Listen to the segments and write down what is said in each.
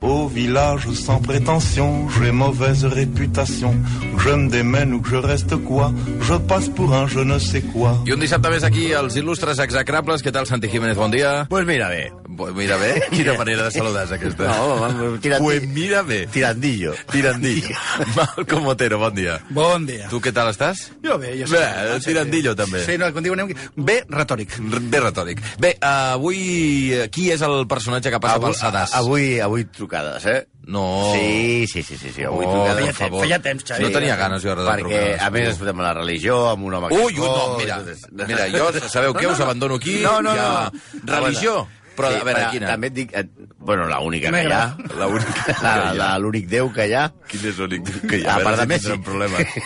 Au village sans prétention, j'ai mauvaise réputation. Que je me démène ou que je reste quoi, je passe pour un je ne sais quoi. I un dissabte més aquí, els il·lustres execrables. Què tal, Santi Jiménez? Bon dia. Pues mira bé. Bo- Mira bé, quina manera de saludar és aquesta. No, tirandi- pues mira bé. eh, Tirandillo. Tirandillo. Malcom Otero, bon dia. Bon dia. Tu què tal estàs? Jo bé, jo Bé, tirandillo també. Sí, no, quan diuen... Bé, retòric. R- Bé retòric. Bé, eh, avui eh, qui és el personatge que passa Avui, pel sedàs? avui, avui trucades, eh? No. Sí, sí, sí, sí, sí. Avui Oh, per trucades. Feia temps, favor. feia temps, Xavi. No tenia ganes jo ara de Perquè, trucades. a més, escoltem la religió, amb un home... que Ui, ui, no, fot, mira, i tot mira, jo sabeu què, us abandono aquí, No, no, i a- no. religió. Però, a veure, però quina? També et dic... eh, Bueno, l'única que hi ha. Negra. L'única que hi ha. L'únic Déu que hi ha. Quin és l'únic que A part de Messi. tindrem problemes.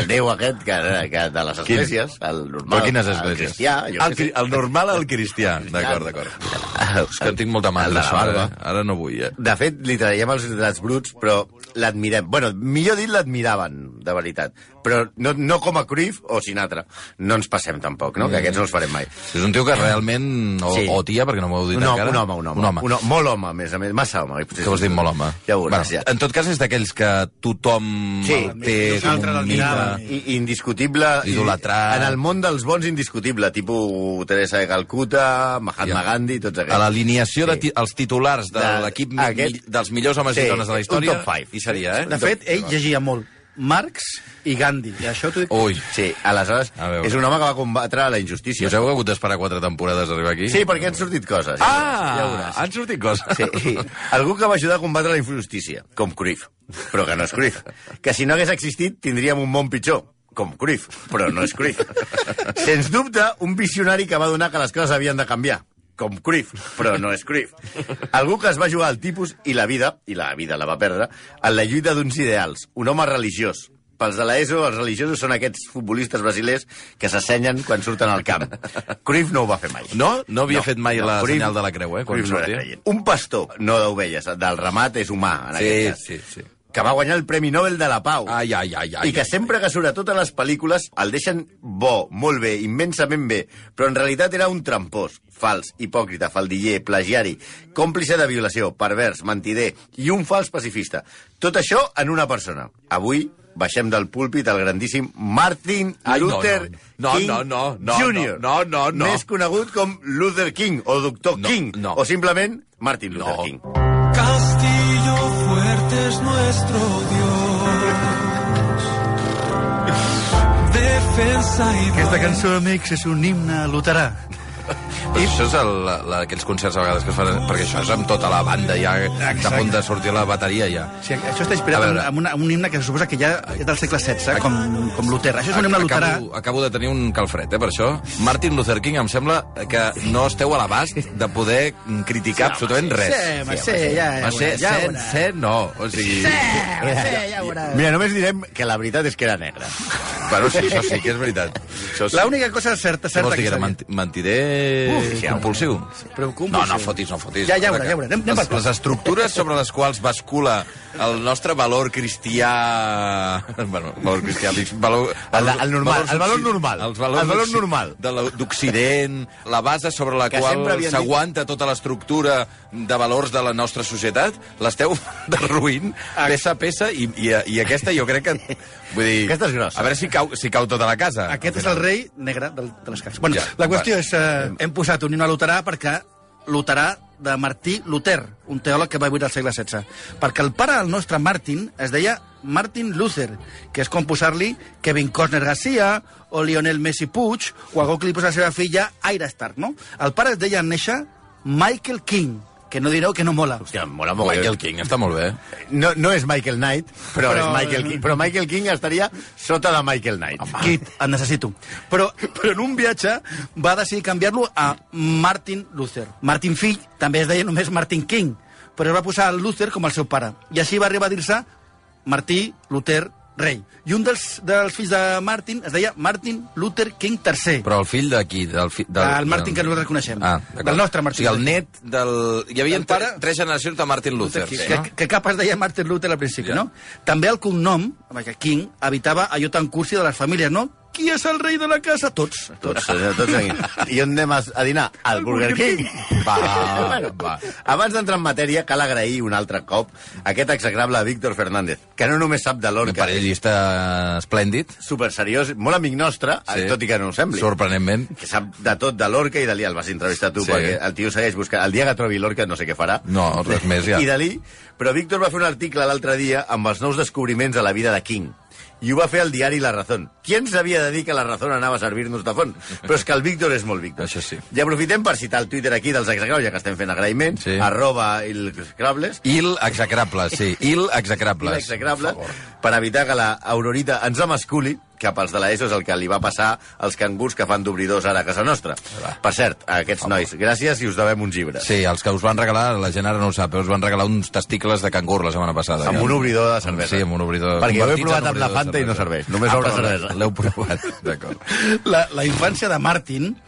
El Déu aquest, que, que de les Quin? esglésies, el normal. Però quines El esglésies? Ah, cristià, jo el, què cri- sé. el normal al cristià. D'acord, d'acord. És que en tinc molta El mal de de la barba. barba. Ara no vull, eh? De fet, li traiem els lletrats bruts, però l'admirem. Bueno, millor dit, l'admiraven, de veritat. Però no, no com a Cruyff o Sinatra. No ens passem tampoc, no? Que aquests no els farem mai. És un tio que realment... O, Sí. o tia, perquè no m'ho heu dit Un, home, encara. un home, un home. Un home. Un ho- molt home, a més a més. Massa home. Que vols dir molt home? Ja ho veuràs, ja. En tot cas, és d'aquells que tothom Sí. el té com Nosaltres un l'admiràvem. mite. I, indiscutible. i- Idolatrat. En el món dels bons, indiscutible. Tipus Teresa de Calcuta, Ja. Mahatma Gandhi, tots aquests. A l'alineació dels Sí. de ti- els titulars de De- l'equip aquest- mi- dels millors homes Sí, i dones de la un història... top five. Hi seria, eh? De fet, ell llegia molt Marx i Gandhi. I això t'ho dic... Ui, Sí, aleshores, A veure. és un home que va combatre la injustícia. si us heu hagut d'esperar quatre temporades a arribar aquí... Sí, perquè han sortit coses. Ja ho Ah! veuràs. Han sortit coses. Sí. Algú que va ajudar a combatre la injustícia, com Cruyff, però que no és Cruyff. Que si no hagués existit, tindríem un món pitjor, com Cruyff, però no és Cruyff. Sens dubte, un visionari que va donar que les coses havien de canviar, com Cruyff, però no és Cruyff. Algú que es va jugar al tipus i la vida, i la vida la va perdre, en la lluita d'uns ideals, un home religiós, pels de l'ESO, els religiosos són aquests futbolistes brasilers que s'assenyen quan surten al camp. Cruyff no ho va fer mai. No? No havia fet mai la Cruyff- senyal de la creu, eh, quan Cruyff no era sortia. creient. Un pastor, no d'ovelles, del ramat és humà, en Sí, aquest cas. sí, sí. Ah, Que va guanyar el Premi Nobel de la Pau. Ai, ai, ai, ai. I que ai, sempre que surt a totes les pel·lícules el deixen bo, molt bé, immensament bé, però en realitat era un trampós, fals, hipòcrita, faldiller, plagiari, còmplice de violació, pervers, mentider i un fals pacifista. Tot això en una persona. Avui baixem del púlpit el grandíssim Martin Ai, no, Luther no, no, King no, no, no, Jr. no, no, no. Més conegut com Luther King o Doctor No, King no. o simplement Martin Luther No. King. Castillo fuerte es nuestro Dios. Defensa y Aquesta cançó, amics, és un himne luterà. Però això és el, la- aquells concerts a vegades que es fan... Perquè això és amb tota la banda ja, de Exacte. punt de sortir la bateria ja. Sí, això A està inspirat en, veure. en, una, en un himne que se suposa que ja és del segle XVI, com, com Luther. Això és un himne luterà. Acabo, acabo de tenir un calfred, eh, per això. Martin Luther King, em sembla que no esteu a l'abast de poder criticar sí, absolutament res. Sí, home, sí, ja, ja, no sé, ja, ja, ser, ja, ser, no. O sigui, ja, ja, Mira, només direm que la veritat és que era negre. Bueno, sí, això sí que és veritat. Això sí. L'única cosa certa, Què certa vols dir que era sabia. menti- mentider Uf, ja, compulsiu? Però compulsiu. No, no fotis, no fotis. Ja, ja ho veurà, ja ho veurà. Anem- anem per les, parts. les estructures sobre les quals bascula el nostre valor cristià... Bueno, valor cristià... dic, Valor, El de- el normal, el valor occi- normal. Els valors El valor occi- normal. de la- D'Occident, la base sobre la Que sempre qual havien dit- s'aguanta tota l'estructura de valors de la nostra societat, l'esteu derruint peça a peça i, i, i aquesta jo crec que... Vull dir, Aquesta és grossa. A veure si cau, si cau tota la casa. Aquest és el rei negre del, de les cases. Bueno, Ja, ja, la qüestió és... Eh, hem posat un himne luterà perquè luterà de Martí Luther, un teòleg que va viure al segle XVI. Perquè el pare del nostre Martin es deia Martin Luther, que és com posar-li Kevin Costner Garcia o Lionel Messi Puig o algú que li posa a la seva filla Aira Stark, no? El pare es deia en néixer Michael King, que no direu que no mola. Hòstia, em mola molt. Michael King està molt bé. No, no és Michael Knight, però, però Però- és Michael King. Però Michael King estaria sota de Michael Knight. Kit, et necessito. Però, però en un viatge va decidir canviar-lo a Martin Luther. Martin fill també es deia només Martin King, però es va posar el Luther com el seu pare. I així va arribar a dir-se Martí Luther rei. I un dels, dels fills de Martin es deia Martin Luther King III. Però el fill d'aquí... Del, fi, del, Del Martin que nosaltres coneixem. Ah, d'acord. Del nostre Martin O sigui, el Luther net del... Hi havia Del tre, pare- tres generacions de Martin Luther. Luther King, sí, que, no? que cap es deia Martin Luther al principi, Ja. no? També el cognom, perquè King, evitava allò tan cursi de les famílies, no? Qui és el rei de la casa? Tots. Tots, eh, tots aquí. I on anem a, a dinar? Al Burger King. Va, Ah, va. Abans d'entrar en matèria, cal agrair un altre cop aquest execrable Víctor Fernández, que no només sap de Un l'orca, és periodista esplèndid, super seriós, molt amic nostre, Sí. sí. Ah, tot i que no ho sembli. sorprenentment. que sap de tot de l'orca i Dalí. El vas entrevistar tu, Sí. sí. perquè el tio segueix buscant... El dia que trobi l'orca no sé què farà. No, res més, ja. I Dalí... Però Víctor va fer un article l'altre dia amb els nous descobriments de la vida de King. I ho va fer al diari La Razón. Qui ens havia de dir que La Razón anava a servir-nos de font? Però és que el Víctor és molt Víctor. Això sí. I aprofitem per citar el Twitter aquí dels exagraus, ja que estem fent agraïments, Sí. sí. arroba ilscrables, Il execrable, sí. Il execrable. inexecrable, per evitar que la Aurorita ens emasculi, que pels de l'ESO és el que li va passar als cangurs que fan d'obridors ara a casa nostra. Per cert, a aquests nois, gràcies i us devem uns llibres. Sí, els que us van regalar, la gent ara no ho sap, però us van regalar uns testicles de cangur la setmana passada. Amb Ja. un obridor de cervesa. Sí, amb un obridor. Perquè jo ho he convertits provat en amb la obridor de Fanta i no cervesa. serveix, només obre perdona, cervesa. L'heu provat, d'acord. La, la infància de Martin,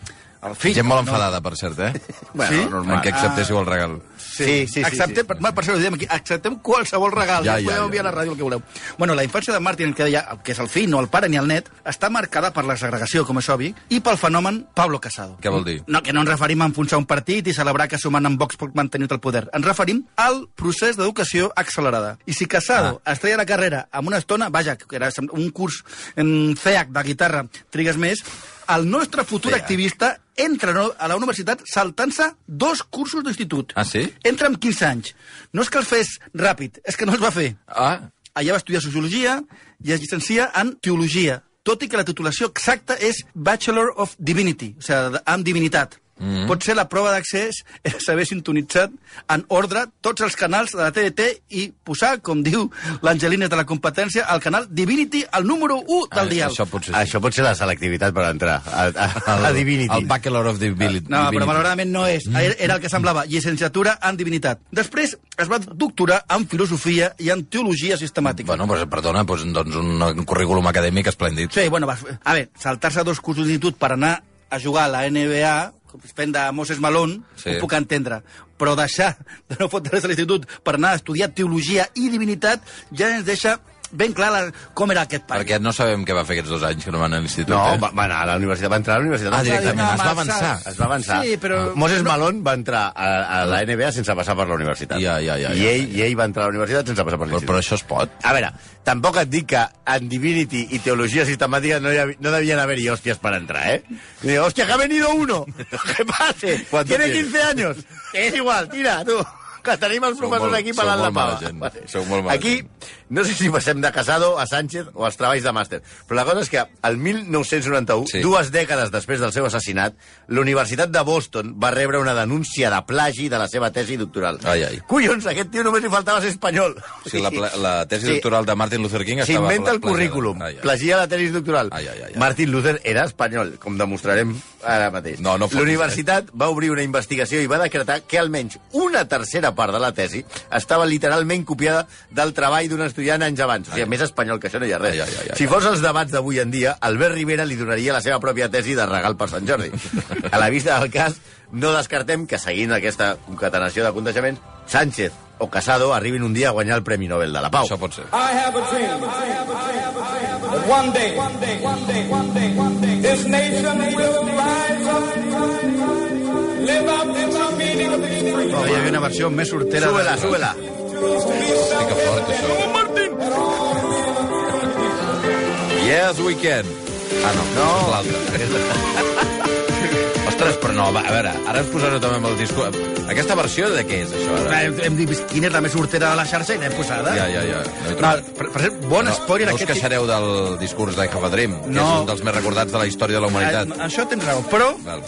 el fill... Gent molt no, enfadada, per cert, eh? Bueno, Sí? normal. En què acceptéssiu el regal. Sí, sí, sí. acceptem, Per, per això ho diem aquí, acceptem qualsevol regal, Ja, ja, ja, ja, podeu ja. enviar a la ràdio el que voleu. Bueno, la infància de Martin, que deia que és el fill, no el pare ni el net, està marcada per la segregació, com és obvi, i pel fenomen Pablo Casado. Què vol dir? No, que no ens referim a enfonsar un partit i celebrar que sumant amb Vox pot mantenir el poder. Ens referim al procés d'educació accelerada. I si Casado ah. es treia la carrera amb una estona, vaja, que era sem- un curs en CEAC de guitarra, trigues més, el nostre futur activista entra no- a la universitat saltant-se dos cursos d'institut. Ah, sí? Entra amb 15 anys. No és que el fes ràpid, és que no els va fer. Ah, Allà va estudiar Sociologia i es llicencia en Teologia, tot i que la titulació exacta és Bachelor of Divinity, o sigui, de- amb divinitat. Mm-hmm. Mm -hmm. Pot ser la prova d'accés és haver sintonitzat en ordre tots els canals de la TDT i posar, com diu l'Angelina de la competència, al canal Divinity, el número 1 del ah, dial. això potser sí. Això pot ser la selectivitat per entrar a, a, a, a Divinity. El Bachelor of Divinity. Ah, No, però malauradament no és. Era era el que semblava, llicenciatura en divinitat. Després es va doctorar en filosofia i en teologia sistemàtica. Bueno, pues, perdona, pues, doncs un, un currículum acadèmic esplèndid. Sí, bueno, vas- a ver, saltarse dos cursos d'institut per anar a jugar a la NBA, com es fent de Moses Malone, Sí. sí. ho puc entendre. Però deixar de no fotre's a l'institut per anar a estudiar teologia i divinitat ja ens deixa ben clar la, com era aquest pare. Perquè no sabem què va fer aquests dos anys que no van a l'institut. No, eh? va, va anar a la universitat, va entrar a la universitat. Ah, Va entrar a la directament, es va avançar. Es va avançar. Sí, però- Ah. Moses Malone va entrar a, a la NBA sense passar per la universitat. Ja, ja, ja, I ja, ell, I ell va entrar a la universitat sense passar per Però, l'institut. però això es pot? A veure, tampoc et dic que en Divinity i Teologia Sistemàtica no, hi ha, no devien haver-hi hòsties per entrar, eh? Dic, hòstia, que ha venido uno! Que pase! ¿Cuánto Tiene tiene? 15 años! És igual, tira, tu! Que tenim els Sou professors molt- aquí sou parlant la molt pava. mala gent, sou molt mala aquí, gent. no sé si passem de Casado a Sánchez o als treballs de màster, però la cosa és que el 1991, Sí. sí. dues dècades després del seu assassinat, l'Universitat de Boston va rebre una denúncia de plagi de la seva tesi doctoral. Ai, ai. Collons, a aquest tio només li faltava ser espanyol. O sigui, la, pla- la tesi Sí. doctoral de Martin Luther King estava... S'inventa el pla- Ah, plagiada. currículum. Ai, ai. Plagia la tesi doctoral. Ai, ai, ai, ai. Martin Luther era espanyol, com demostrarem ara mateix. No, no fotis, eh. L'universitat va obrir una investigació i va decretar que almenys una tercera part de la tesi estava literalment copiada del treball d'un estudiant anys abans. O sigui, més espanyol que això no hi ha res. Ai, ai, ai, ai. si fos els debats d'avui en dia, Albert Rivera li donaria la seva pròpia tesi de regal per Sant Jordi. A la vista del cas, no descartem que seguint aquesta concatenació d'aconteixements, Sánchez o Casado arribin un dia a guanyar el Premi Nobel de la Pau. Això pot ser. I have a dream. that One day, one day, one day, one day, one day, this nation will rise up, live up to the meaning of its creed. Hi havia una versió més sortera. de- Súbela, súbela. To be self-evident. Yes, we can. Ah, no. No. L'altra. Ostres, però no, va, a veure, ara ens posaré també amb el disco... Aquesta versió de què és, això, Va, ara? Hem, hem dit quina és la més sortera de la xarxa i l'hem posada. Ja, ja, ja. No, he No, trobat. per, per ser, bon no, espòiler no us aquest... tipus- queixareu del discurs de Have a Dream, que No. és un dels més recordats de la història de la humanitat. Ah, Això tens raó, però... Val.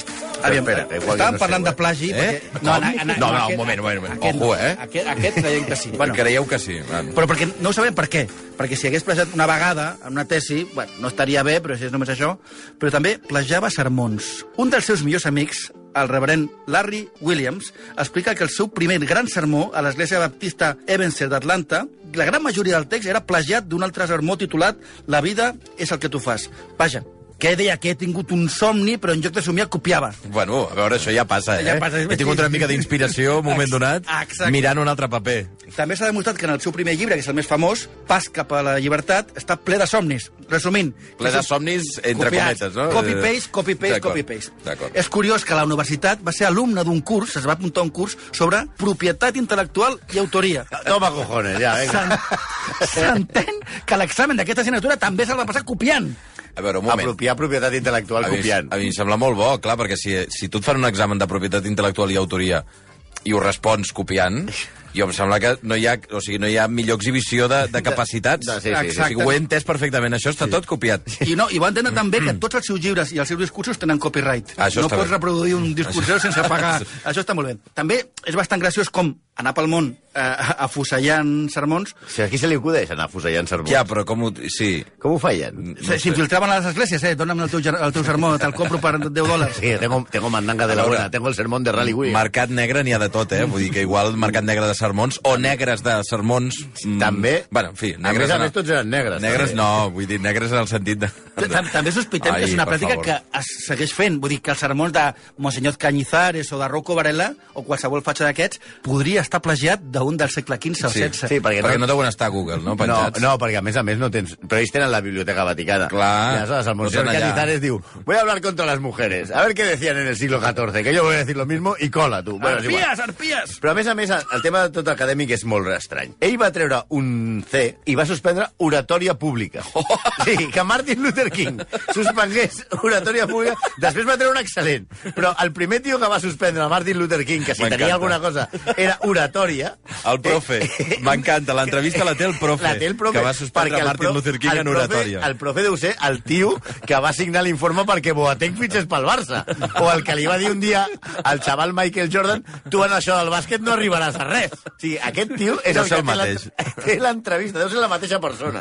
Aviam, Espera, espera, igual jo no estàvem sé, parlant eh? de plagi... Eh? Perquè... Com? No, no, un moment, un moment, un moment. Ojo, eh? Aquest, aquest creiem que sí. Bueno. Creieu que sí? Va. Però perquè no sabem per què. Perquè si hagués plagiat una vegada en una tesi, bueno, no estaria bé, però si és només això, però també plagiava sermons. Un dels seus millors amics el reverend Larry Williams, explica que el seu primer gran sermó a l'església baptista Ebenezer d'Atlanta, la gran majoria del text era plagiat d'un altre sermó titulat La vida és el que tu fas. Vaja, que deia que he tingut un somni, però en lloc de somiar copiava. Bueno, a veure, això ja passa, eh? Ja passa. He tingut una mica d'inspiració, un moment donat, Exacte. mirant un altre paper. També s'ha demostrat que en el seu primer llibre, que és el més famós, Pas cap a la llibertat, està ple de somnis. Resumint. Ple de somnis, entre Copiats. cometes, no? Copy-paste, copy-paste, D'acord, copy-paste. d'acord. És curiós que la universitat va ser alumne d'un curs, es va apuntar a un curs, sobre propietat intel·lectual i autoria. Toma cojones, ja, vinga. S'en- S'entén que l'examen d'aquesta assignatura també se'l va passar copiant. A veure, un moment. Apropiar propietat A intel·lectual mi, copiant. a mi em sembla molt bo, clar, perquè si, si tu et fan un examen de propietat intel·lectual i autoria i ho respons copiant, jo em sembla que no hi ha, o sigui, no hi ha millor exhibició de, de capacitats. de- sí, sí, sí. O sigui, ho he entès perfectament, això està sí. tot copiat. I, no, I va entendre també que tots els seus llibres i els seus discursos tenen copyright. Ah, Això no està pots bé. reproduir un discurs seu sense pagar. Això- Això està molt bé. També és bastant graciós com anar pel món eh, afusellant sermons Si aquí se li acudeix anar fusellant sermons. Ja, però com ho... Sí, Com ho feien? No sé. S'infiltraven a les esglésies, eh? Dóna'm el teu, ger- el teu sermó, te'l compro per 10 dòlars. Sí, tengo, tengo mandanga de A la veure. hora, tengo el sermón de Rally Williams. Mercat negre n'hi ha de tot, eh? Vull dir que igual mercat negre de sermons o negres de sermons... mm, També. Bueno, en fi, A negres... més a en- més, tots eren negres, Negres també. no, vull dir, negres en el sentit de... Tam- També sospitem que és una per pràctica favor. que es segueix fent. Vull dir que els sermons de Monsenyor Cañizares o de Rocco Varela o qualsevol fatxa d'aquests podria estar plagiat d'un del segle XV o Sí, XVI. sí, perquè Perquè, no- perquè no deuen estar a Google, no, No, penjats? no, perquè a més a més no tens... Però ells tenen la Biblioteca Vaticana. Clar. I aleshores el No Monseñor estan allà. Cañizares diu voy a hablar contra las mujeres, a ver qué decían en el siglo XIV, que yo voy a decir lo mismo y cola, tu. Bueno, és igual. Arpies, arpies! Però a més a més, el tema de tot acadèmic és molt estrany. Ell va treure un C i va suspendre oratòria pública. Sí, que Martin Luther King suspengués oratòria pública, després va treure un excel·lent. Però el primer tio que va suspendre Martin Luther King, que si tenia M'encanta. alguna cosa era oratòria... El profe. M'encanta. L'entrevista la té el profe. La té el profe, Que va suspendre perquè el Martin prof- Luther King el en profe- oratòria. El profe deu ser el tio que va signar l'informe perquè Boateng fitxés pel Barça. O el que li va dir un dia al xaval Michael Jordan tu en això del bàsquet no arribaràs a res. O sigui, aquest tio és Deu el ser que el té mateix. l'ent- té l'entrevista, deu ser la mateixa persona.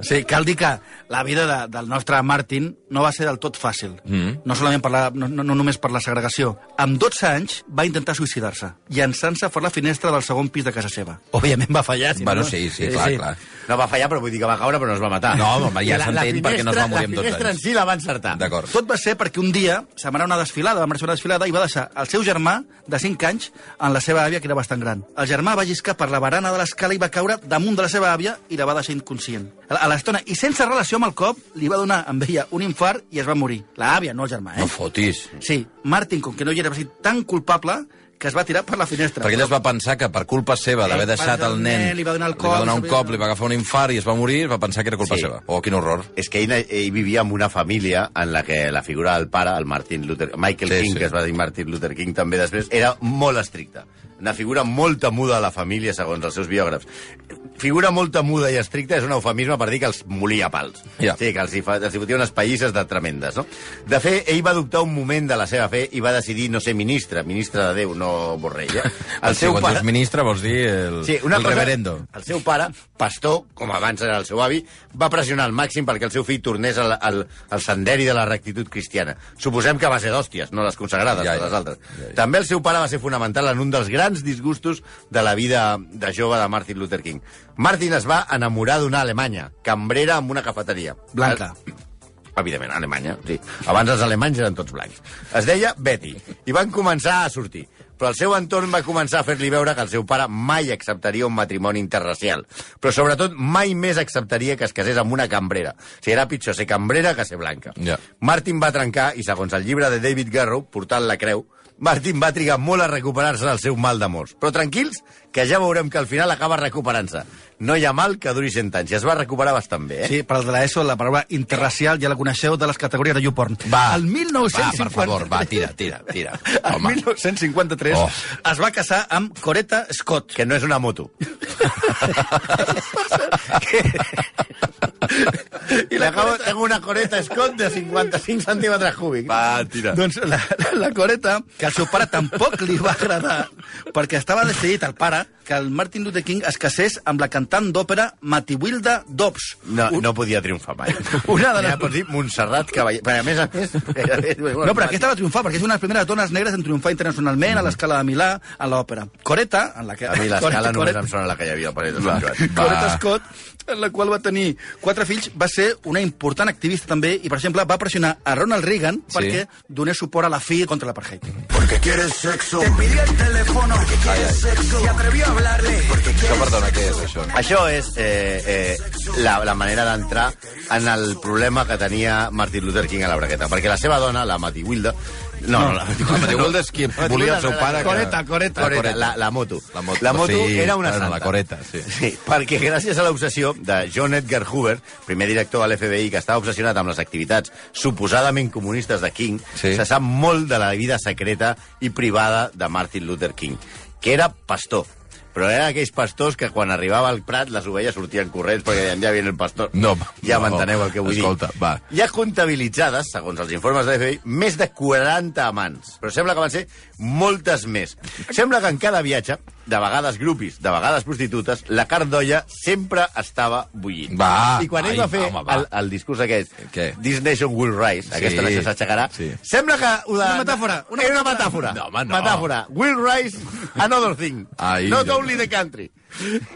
Sí, cal dir que Ah, la vida de, del nostre Martin no va ser del tot fàcil. Mm. No, solament per la, no, no no només per la segregació. Amb 12 anys va intentar suïcidar-se, llançant-se fora la finestra del segon pis de casa seva. Òbviament va fallar. Si Bueno, no, no. sí, sí, clar, clar. No va fallar, però vull dir que va caure, però no es va matar. No, home, ja La- la s'entén perquè no es va finestra- morir amb La 12 finestra en anys. si la va encertar. D'acord. Tot va ser perquè un dia se'n va anar a una desfilada, va marxar a una desfilada i va deixar el seu germà de 5 anys en la seva àvia, que era bastant gran. El germà va lliscar per la barana de l'escala i va caure damunt de la seva àvia i la va deixar inconscient. A a l'estona, i sense relació amb el cop, li va donar amb ella un infart i es va morir. La àvia, no el germà, eh? No fotis. Sí, Martin, com que no hi era va ser tan culpable que es va tirar per la finestra. Perquè ell es va pensar que per culpa seva d'haver Sí, Eh, deixat va el donar- nen... li va donar el Li cop, va donar un sabia- cop, li va agafar un infart i es va morir, es va pensar que era culpa Sí. seva. Oh, quin horror. és que ell, ell vivia en una família en la que la figura del pare, el Martin Luther, Michael Sí, sí, King, sí. sí. que es va dir Martin Luther King també després, era molt estricta. Una figura molt temuda a la família, segons els seus biògrafs. Figura molt temuda i estricta és un eufemisme per dir que els molia a pals. Ja. Sí, que els hi, fa, els hi fotia unes pallisses de tremendes, no? De fet, ell va adoptar un moment de la seva fe i va decidir no ser ministre, ministre de Déu, no Borrell. Eh? El seu pare... Quan dius ministre vols dir el, Sí, una el cosa, reverendo. El seu pare, pastor, com abans era el seu avi, va pressionar al màxim perquè el seu fill tornés al, al, al senderi de la rectitud cristiana. Suposem que va ser d'hòsties, no les consagrades, Ja, ja, ja. les altres. Ja, ja. També el seu pare va ser fonamental en un dels grans disgustos de la vida de jove de Martin Luther King. Martin es va enamorar d'una alemanya, cambrera en una cafeteria. Blanca. Eh? Evidentment, a Alemanya, sí. Abans els alemanys eren tots blancs. Es deia Betty, i van començar a sortir. Però el seu entorn va començar a fer-li veure que el seu pare mai acceptaria un matrimoni interracial. Però, sobretot, mai més acceptaria que es casés amb una cambrera. O sigui, era pitjor ser cambrera que ser blanca. Ja. Martin va trencar, i segons el llibre de David Garrow, portant la creu, Martin va trigar molt a recuperar-se del seu mal d'amors. Però tranquils, que ja veurem que al final acaba recuperant-se. No hi ha mal que duri 100 anys. I es va recuperar bastant bé, eh? Sí, per al de l'ESO, la paraula interracial ja la coneixeu de les categories de YouPorn. Va. el 1950... Va, Ah, per favor, va, tira, tira, tira. El Home. 1953 Oh. es va casar amb Coretta Scott. Que no és una moto. Y la acabo, tengo una coreta Scott de 55 centímetres cúbics. Va, tira. Doncs la, la coreta, que al seu pare tampoc li va agradar, perquè estava decidit el pare que el Martin Luther King es casés amb la cantant d'òpera Matiwilda Dobbs. No, no podia triomfar mai. Una de les- Ja pots dir Montserrat Cavaller. Però a més a més... No, però aquesta va triomfar, perquè és una de les primeres dones negres en triomfar internacionalment a l'escala de Milà, a l'òpera. Coreta, en la que... A mi l'escala Coreta- només Coreta- em sona la que hi havia al Paret de Sant Joan. Coretta Scott, en la qual va tenir quatre fills, va ser una important activista també i, per exemple, va pressionar a Ronald Reagan Sí. perquè donés suport a la fi contra l'apartheid. Porque quieres sexo. Te pidió el teléfono. Porque quieres sexo. Se atrevió a hablarle. Porque Això, perdona, què és això? Això és eh, eh, la, la manera d'entrar en el problema que tenia Martin Luther King a la braqueta. Perquè la seva dona, la Mati Wilda... No, no, la Mati La Mati Wilda és qui volia el seu pare que- Coreta, coreta. La La, coreta. la, la moto. La moto. la moto Sí, era una bueno, santa. la coreta, sí. Sí, perquè gràcies a l'obsessió de John Edgar Hoover, primer director de l'FBI que estava obsessionat amb les activitats suposadament comunistes de King, Sí. sí. se sap molt de la vida secreta i privada de Martin Luther King, que era pastor. Però eren aquells pastors que quan arribava al Prat les ovelles sortien corrents perquè deien, ja viene el pastor. No, ja no, m'enteneu el que vull escolta, dir. va. Hi ha comptabilitzades, segons els informes de l'FBI, més de 40 amants. Però sembla que van ser moltes més. Sembla que en cada viatge, de vegades grupis, de vegades prostitutes, la carn d'olla sempre estava bullint. Va, I quan ell ai, va fer home, va. el, el discurs aquest, Què? This Nation Will Rise, Sí. aquesta nació s'aixecarà, Sí. sembla que... Ho de... Una metàfora, una Era una metàfora. No, home, no. Metàfora. Will Rise, another thing. Ai, Not Déu only the country.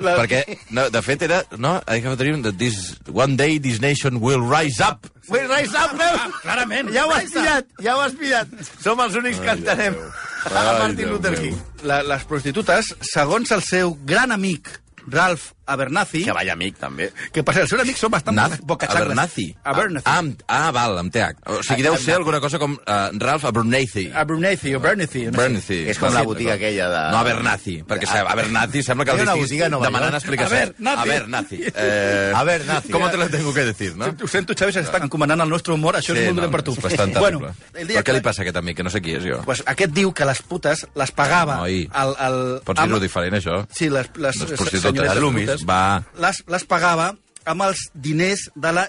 La... Perquè, no, de fet, era... No, I have a dream that this... One day this nation will rise up. Will Rise up, veus? Clarament. Ja ho has Rise up. pillat, ja ho has pillat. Som els únics que entenem a Ai, Martin Déu Luther meu. King. La, les prostitutes, segons el seu gran amic Ralph Abernathy, que, vaya amic, també. que per ser el seu amic són bastant Nath bocachacles. Abernathy. Abernathy. Ah, amb, ah, val, amb TH. O sigui, deu ser alguna cosa com uh, Ralph Abernathy. Abernathy, o Abernathy. No sé. Abernathy. És com la botiga aquella de... Ah. No, Abernathy, perquè a Abernathy sembla que el Era una diguis botiga a Nova demanant York. explicacions. Abernathy. Abernathy. Eh, Abernathy. ¿Cómo te lo tengo que decir, no? Ho sento, Xavi, s'està encomanant el nostre humor, això Sí, és molt dolent no, per tu. És bastant terrible. bueno, el Però dia què li passa a aquest amic, que no sé qui és jo? Pues aquest diu que les putes les pagava Noi, el, el, Pots dir-ho diferent, això? Sí, les, les, Les les prostitutes, senyoretes les lumis, brutes, tota va. Les, les pagava amb els diners de la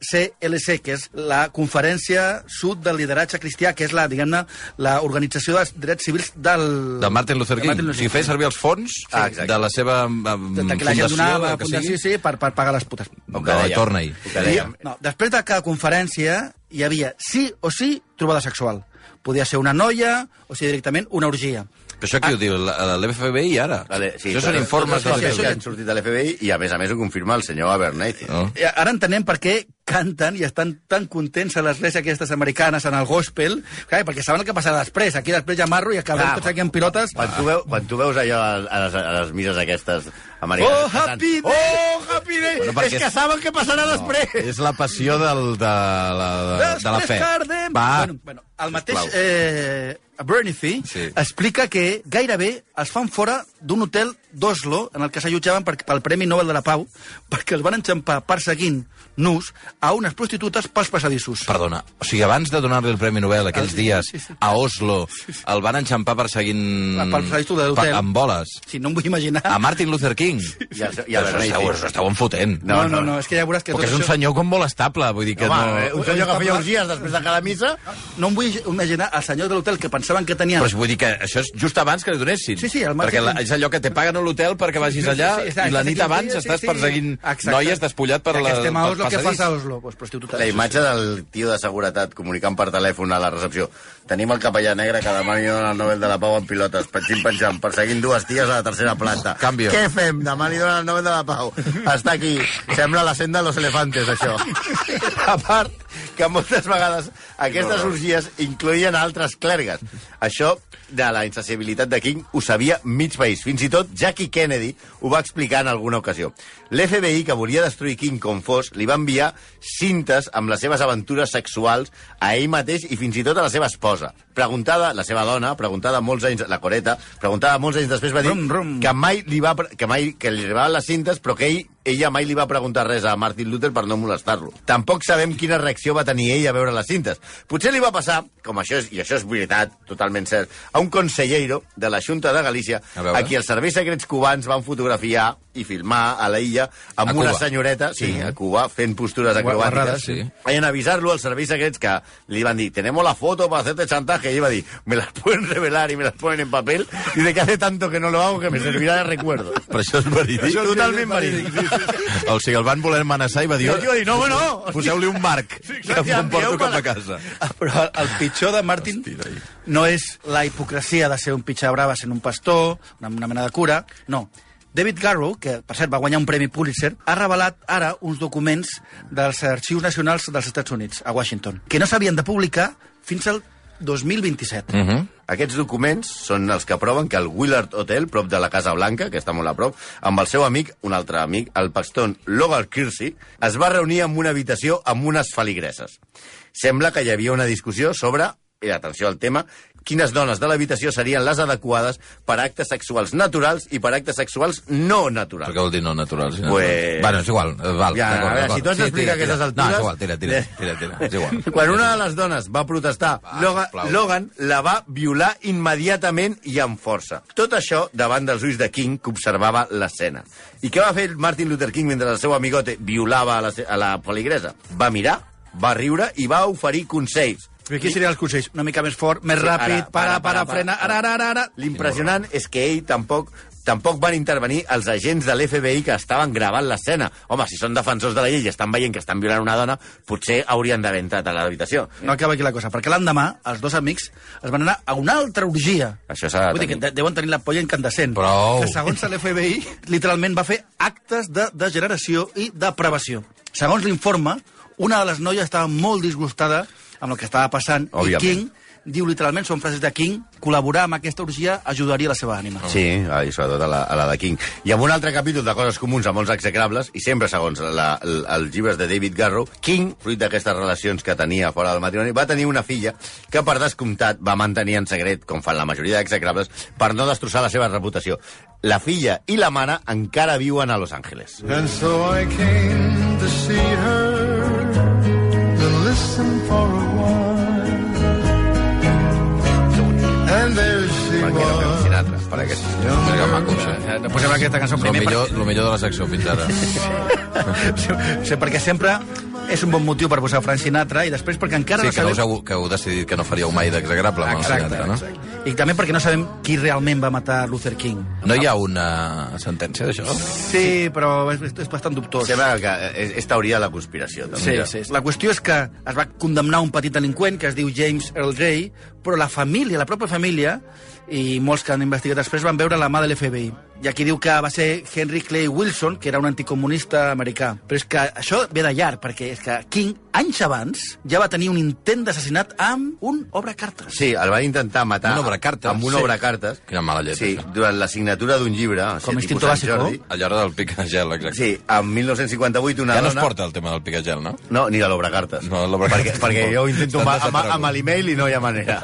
SCLC, que és la Conferència Sud del Lideratge Cristià, que és la, diguem-ne, l'organització dels drets civils del... De Martin Luther de King. Martin O sigui, feia servir els fons Ah, exacte. de la seva um, de, de que la fundació, gent donava, del que fundació, sigui. sí, sí, per, per pagar les putes. No, torna-hi. Que dèiem. No, després de cada conferència hi havia sí o sí trobada sexual. Podia ser una noia o sigui directament una orgia. Però Ah. això qui ho diu? La- L'FBI ara? Vale, sí, això són tot- informes tot de els sí, que l'FBI. han sortit de l'FBI i, a més a més, ho confirma el senyor Abernathy. No? Eh, Ara entenem per què canten i estan tan contents a l'església aquestes americanes en el gospel, clar, perquè saben el que passarà després. Aquí després ja marro i acabarem Clar. tots aquí en pilotes. Quan tu, veu, quan tu veus allò a, a, les, a les misses aquestes americanes... Oh, cantant, happy Oh, happy day! Bueno, perquè és que és- saben què passarà després! És la passió del, de, la, de, de la fe. Carden. Va, Bueno, bueno, el mateix Sisplau. eh, Abernathy Sí. sí. explica que gairebé es fan fora d'un hotel d'Oslo en el que s'allotjaven per, pel Premi Nobel de la Pau perquè els van enxampar perseguint nus a unes prostitutes pels passadissos. perdona, o sigui, abans de donar-li el Premi Nobel aquells dies a Oslo, el van enxampar perseguint... Ah, pel salto de l'hotel. pa- Amb boles. Si no em vull imaginar... A Martin Luther King. I el- i el Però Abernathy. esteu, us esteu enfotent. No, no, no, és que ja veuràs que Perquè és tot un això... senyor com molt estable, vull dir que Home, eh, no... un senyor que feia orgies després de cada missa... No em vull imaginar el senyor de l'hotel que pensaven que tenia... Però vull dir que això és just abans que li donessin. Sí, sí, el Martin- Perquè la, és allò que te paguen a l'hotel perquè vagis Sí, sí, allà sí, exacte. i la nit Sí, sí, abans sí, estàs sí. perseguint Exacte. noies despullat per Ja la, que estem a pel Oslo, què passadís. fas a Oslo? Pues prostitutes. La imatge del tio de seguretat comunicant per telèfon a la recepció. Tenim el capellà negre que demà li donen el Nobel de la Pau en pilotes, penjant, penjant, perseguint dues ties a la tercera planta. Canvio. Què fem? Demà li donen el Nobel de la Pau. Està aquí. Sembla la senda de los elefantes, això. A part, que moltes vegades aquestes orgies incloïen altres clergues. Això de la insensibilitat de King ho sabia mig país. Fins i tot Jackie Kennedy ho va explicar en alguna ocasió. L'FBI, que volia destruir King com fos, li va enviar cintes amb les seves aventures sexuals a ell mateix i fins i tot a la seva esposa. Preguntada, la seva dona, preguntada molts anys, la Coreta, preguntada molts anys després, va dir Rum, rum. que mai li va, que mai que li arribaven les cintes, però que ell ella mai li va preguntar res a Martin Luther per no molestar-lo. Tampoc sabem quina reacció va tenir ell a veure les cintes. Potser li va passar, com això és, i això és veritat, totalment cert, a un consellero de la Junta de A Galícia, a, veure. a qui els serveis secrets cubans van fotografiar i filmar a la illa amb A una Cuba. senyoreta, sí, a Cuba, fent postures guarrades, acrobàtiques. sí. Vayan a avisarlo als serveis secrets que li van dir tenemos la foto para hacerte chantaje. Y iba a decir, me las pueden revelar y me las ponen en papel. Y de que hace tanto que no lo hago que me servirá de recuerdo. Però això és verídic. Això és Totalment verídic, O sigui, el van voler amenaçar i va dir... I el tio va dir, no, home, no. Poseu-li un marc, que exacte, em porto envieu-me cap la- a casa. ah, Però el pitjor de Martin Hosti, noi. no és la hipocresia de ser un pitxa brava sent un pastor, una, una mena de cura, no. David Garrow, que per cert va guanyar un premi Pulitzer, ha revelat ara uns documents dels arxius nacionals dels Estats Units, a Washington, que no s'havien de publicar fins al 2027. Mm -hmm. Aquests documents són els que proven que el Willard Hotel, prop de la Casa Blanca, que està molt a prop, amb el seu amic, un altre amic, el paston Logan Kirsey, es va reunir en una habitació amb unes feligreses. Sembla que hi havia una discussió sobre, i atenció al tema, quines dones de l'habitació serien les adequades per a actes sexuals naturals i per a actes sexuals no naturals. Però què vol dir no natural? Si Pues- Bueno, és igual, eh, val. Ja, d'acord, a veure, d'acord. si tu has Sí, d'explicar tira, aquestes tira. altures... No, és igual, tira, tira, tira, tira, és igual. Quan una de les dones va protestar, Va, Logan, sisplau. Logan la va violar immediatament i amb força. Tot això davant dels ulls de King, que observava l'escena. I què va fer el Martin Luther King mentre el seu amigote violava a la, se- a la poligresa? Va mirar, va riure i va oferir consells. Però aquí serien els consells, una mica més fort, més Sí, ràpid, ara, para, ara, para, para, frena, para. ara, ara, ara, ara. L'impressionant és que ell tampoc tampoc van intervenir els agents de l'FBI que estaven gravant l'escena. Home, si són defensors de la llei i estan veient que estan violant una dona, potser haurien d'haver entrat a l'habitació. No acaba aquí la cosa, perquè l'endemà els dos amics es van anar a una altra orgia. Això s'ha de Vull dir que tenir. de- deuen tenir la polla incandescent. Prou. Que segons l'FBI, literalment va fer actes de degeneració i depravació. Segons l'informe, una de les noies estava molt disgustada amb el que estava passant Òbviament. i King diu literalment, són frases de King, col·laborar amb aquesta orgia ajudaria la seva ànima. Sí, i sobretot a la, a la de King. I amb un altre capítol de coses comuns a molts execrables, i sempre segons la, l, els llibres de David Garrow, King, fruit d'aquestes relacions que tenia fora del matrimoni, va tenir una filla que, per descomptat, va mantenir en secret, com fan la majoria d'execrables, per no destrossar la seva reputació. La filla i la mare encara viuen a Los Angeles. And so I came to see her, to listen for a while. And there she Perquè no fem was. Sinatra, per aquest... Mira que maco, això. No posem aquesta cançó Lo primer millor, lo millor de la secció fins ara. perquè, sí, perquè sempre és un bon motiu per posar Frank Sinatra i després perquè encara Sí, no que no sabem... Ah, us heu, que heu decidit que no faríeu mai d'exagrable amb el Exacte, teatre, no? exacte. I també perquè no sabem qui realment va matar Luther King. No hi ha una sentència d'això? Sí, però és, és bastant dubtós. Sembla que eh, és, és teoria de la conspiració, també. Sí, sí. La qüestió és que es va condemnar un petit delinqüent que es diu James Earl Grey, però la família, la pròpia família, i molts que han investigat després van veure la mà de l'FBI. I aquí diu que va ser Henry Clay Wilson, que era un anticomunista americà. Però és que això ve de llarg, perquè és que King, anys abans, ja va tenir un intent d'assassinat amb un obrecartes. Sí, el van intentar matar Una obra cartes. amb una Sí. obra cartes. Quina mala llet, Sí, això. durant la signatura d'un llibre. o sigui, tipus Instinto Sant Básico. Jordi. Al llarg del pic de gel, exacte. Sí, en 1958 una Ja no dona... es porta el tema del pic de gel, no? No, ni de l'obrecartes. No, l'obrecartes Perquè, perquè tampoc. jo ho intento Estan amb, amb, desapareguts. amb l'email i no hi ha manera.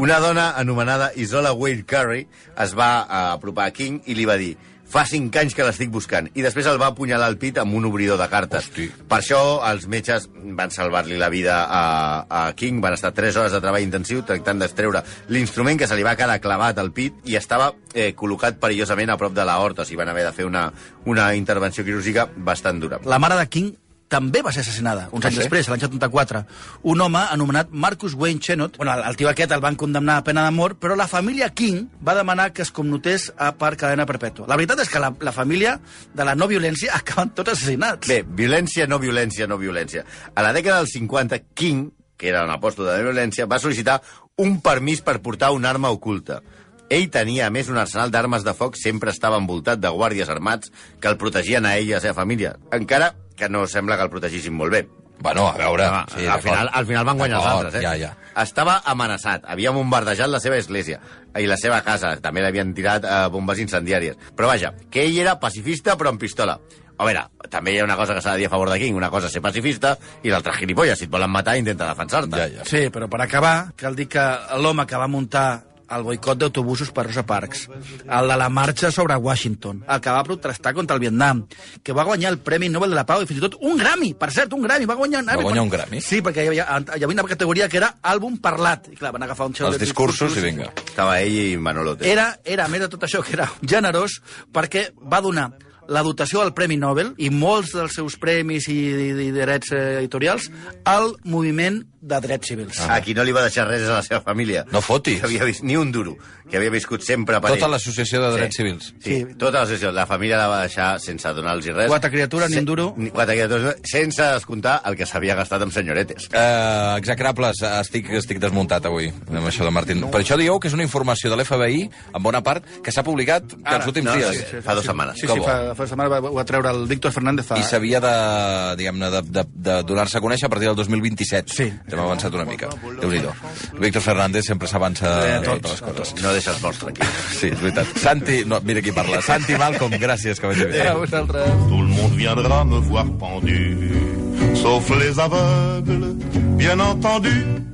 Una dona anomenada Isola Wade Curry es va eh, apropar a King i li va dir fa cinc anys que l'estic buscant. I després el va apunyalar al pit amb un obridor de cartes. Hosti. Per això els metges van salvar-li la vida a, a King. Van estar 3 hores de treball intensiu tractant d'extreure l'instrument que se li va quedar clavat al pit i estava eh, col·locat perillosament a prop de l'aorta. O sigui, van haver de fer una, una intervenció quirúrgica bastant dura. La mare de King també va ser assassinada, uns anys després, l'any 74. Un home anomenat Marcus Wayne Chenot, bueno, el, el tio aquest el van condemnar a pena de mort, però la família King va demanar que es connotés a per cadena perpètua. La veritat és que la, la família de la no violència acaben tots assassinats. Bé, violència, no violència, no violència. A la dècada dels 50, King, que era un apòstol de la violència, va sol·licitar un permís per portar una arma oculta. Ell tenia, a més, un arsenal d'armes de foc, sempre estava envoltat de guàrdies armats que el protegien a ell i a la seva família, encara que no sembla que el protegissin molt bé. Bueno, a veure... Home, sí, al, d'acord. final, al final van guanyar els D'acord, altres, eh? Ja, ja. Estava amenaçat, havia bombardejat la seva església i la seva casa, també l'havien tirat eh, bombes incendiàries. Però vaja, que ell era pacifista però amb pistola. A veure, també hi ha una cosa que s'ha de dir a favor de King, una cosa és ser pacifista i l'altra gilipolles, si et volen matar intenta defensar-te. Ja, ja. Sí, però per acabar, cal dir que l'home que va muntar el boicot d'autobusos per Rosa Parks, el de la marxa sobre Washington, el que va protestar contra el Vietnam, que va guanyar el Premi Nobel de la Pau i fins i tot un Grammy, per cert, un Grammy, va guanyar un Grammy. guanyar per- un Grammy? Sí, perquè hi havia, hi havia una categoria que era àlbum parlat. I clar, van agafar un xou Els de discursos i vinga. Estava ell i Eh. Manolote. era, era, a més de tot això, que era generós, perquè va donar la dotació al Premi Nobel i molts dels seus premis i, i, i drets eh, editorials al moviment de Ah, drets civils. A qui no li va deixar res a la seva família. No fotis. Que havia vist ni un duro, que havia viscut sempre per Tota ell. l'associació de drets Sí. civils. Sí, Sí. tota l'associació. La família la va deixar sense donar-los res. Quatre criatures, ni un duro. Ni quatre criatures, sense descomptar el que s'havia gastat amb senyoretes. Uh, execrables, eh, estic, estic desmuntat avui amb això de Martín. Per això dieu que és una informació de l'FBI, en bona part, que s'ha publicat Ara, els últims Ah, no, dies. sí, sí, sí. Fa dues setmanes. Sí, Que sí, bo. fa, fa setmana va, va treure el Víctor Fernández. Fa... I s'havia de, diguem-ne, de, de, de donar-se a conèixer a partir del 2027. Sí. Hem avançat una mica. déu nhi Víctor Fernández sempre s'avança a totes les coses. No deixa els morts tranquils. Sí, és veritat. Santi, no, mira qui parla. Santi Malcom, gràcies, que vagi bé. Eh, Era vosaltres. Tout le monde viendra me voir pendu, sauf les aveugles, bien entendu.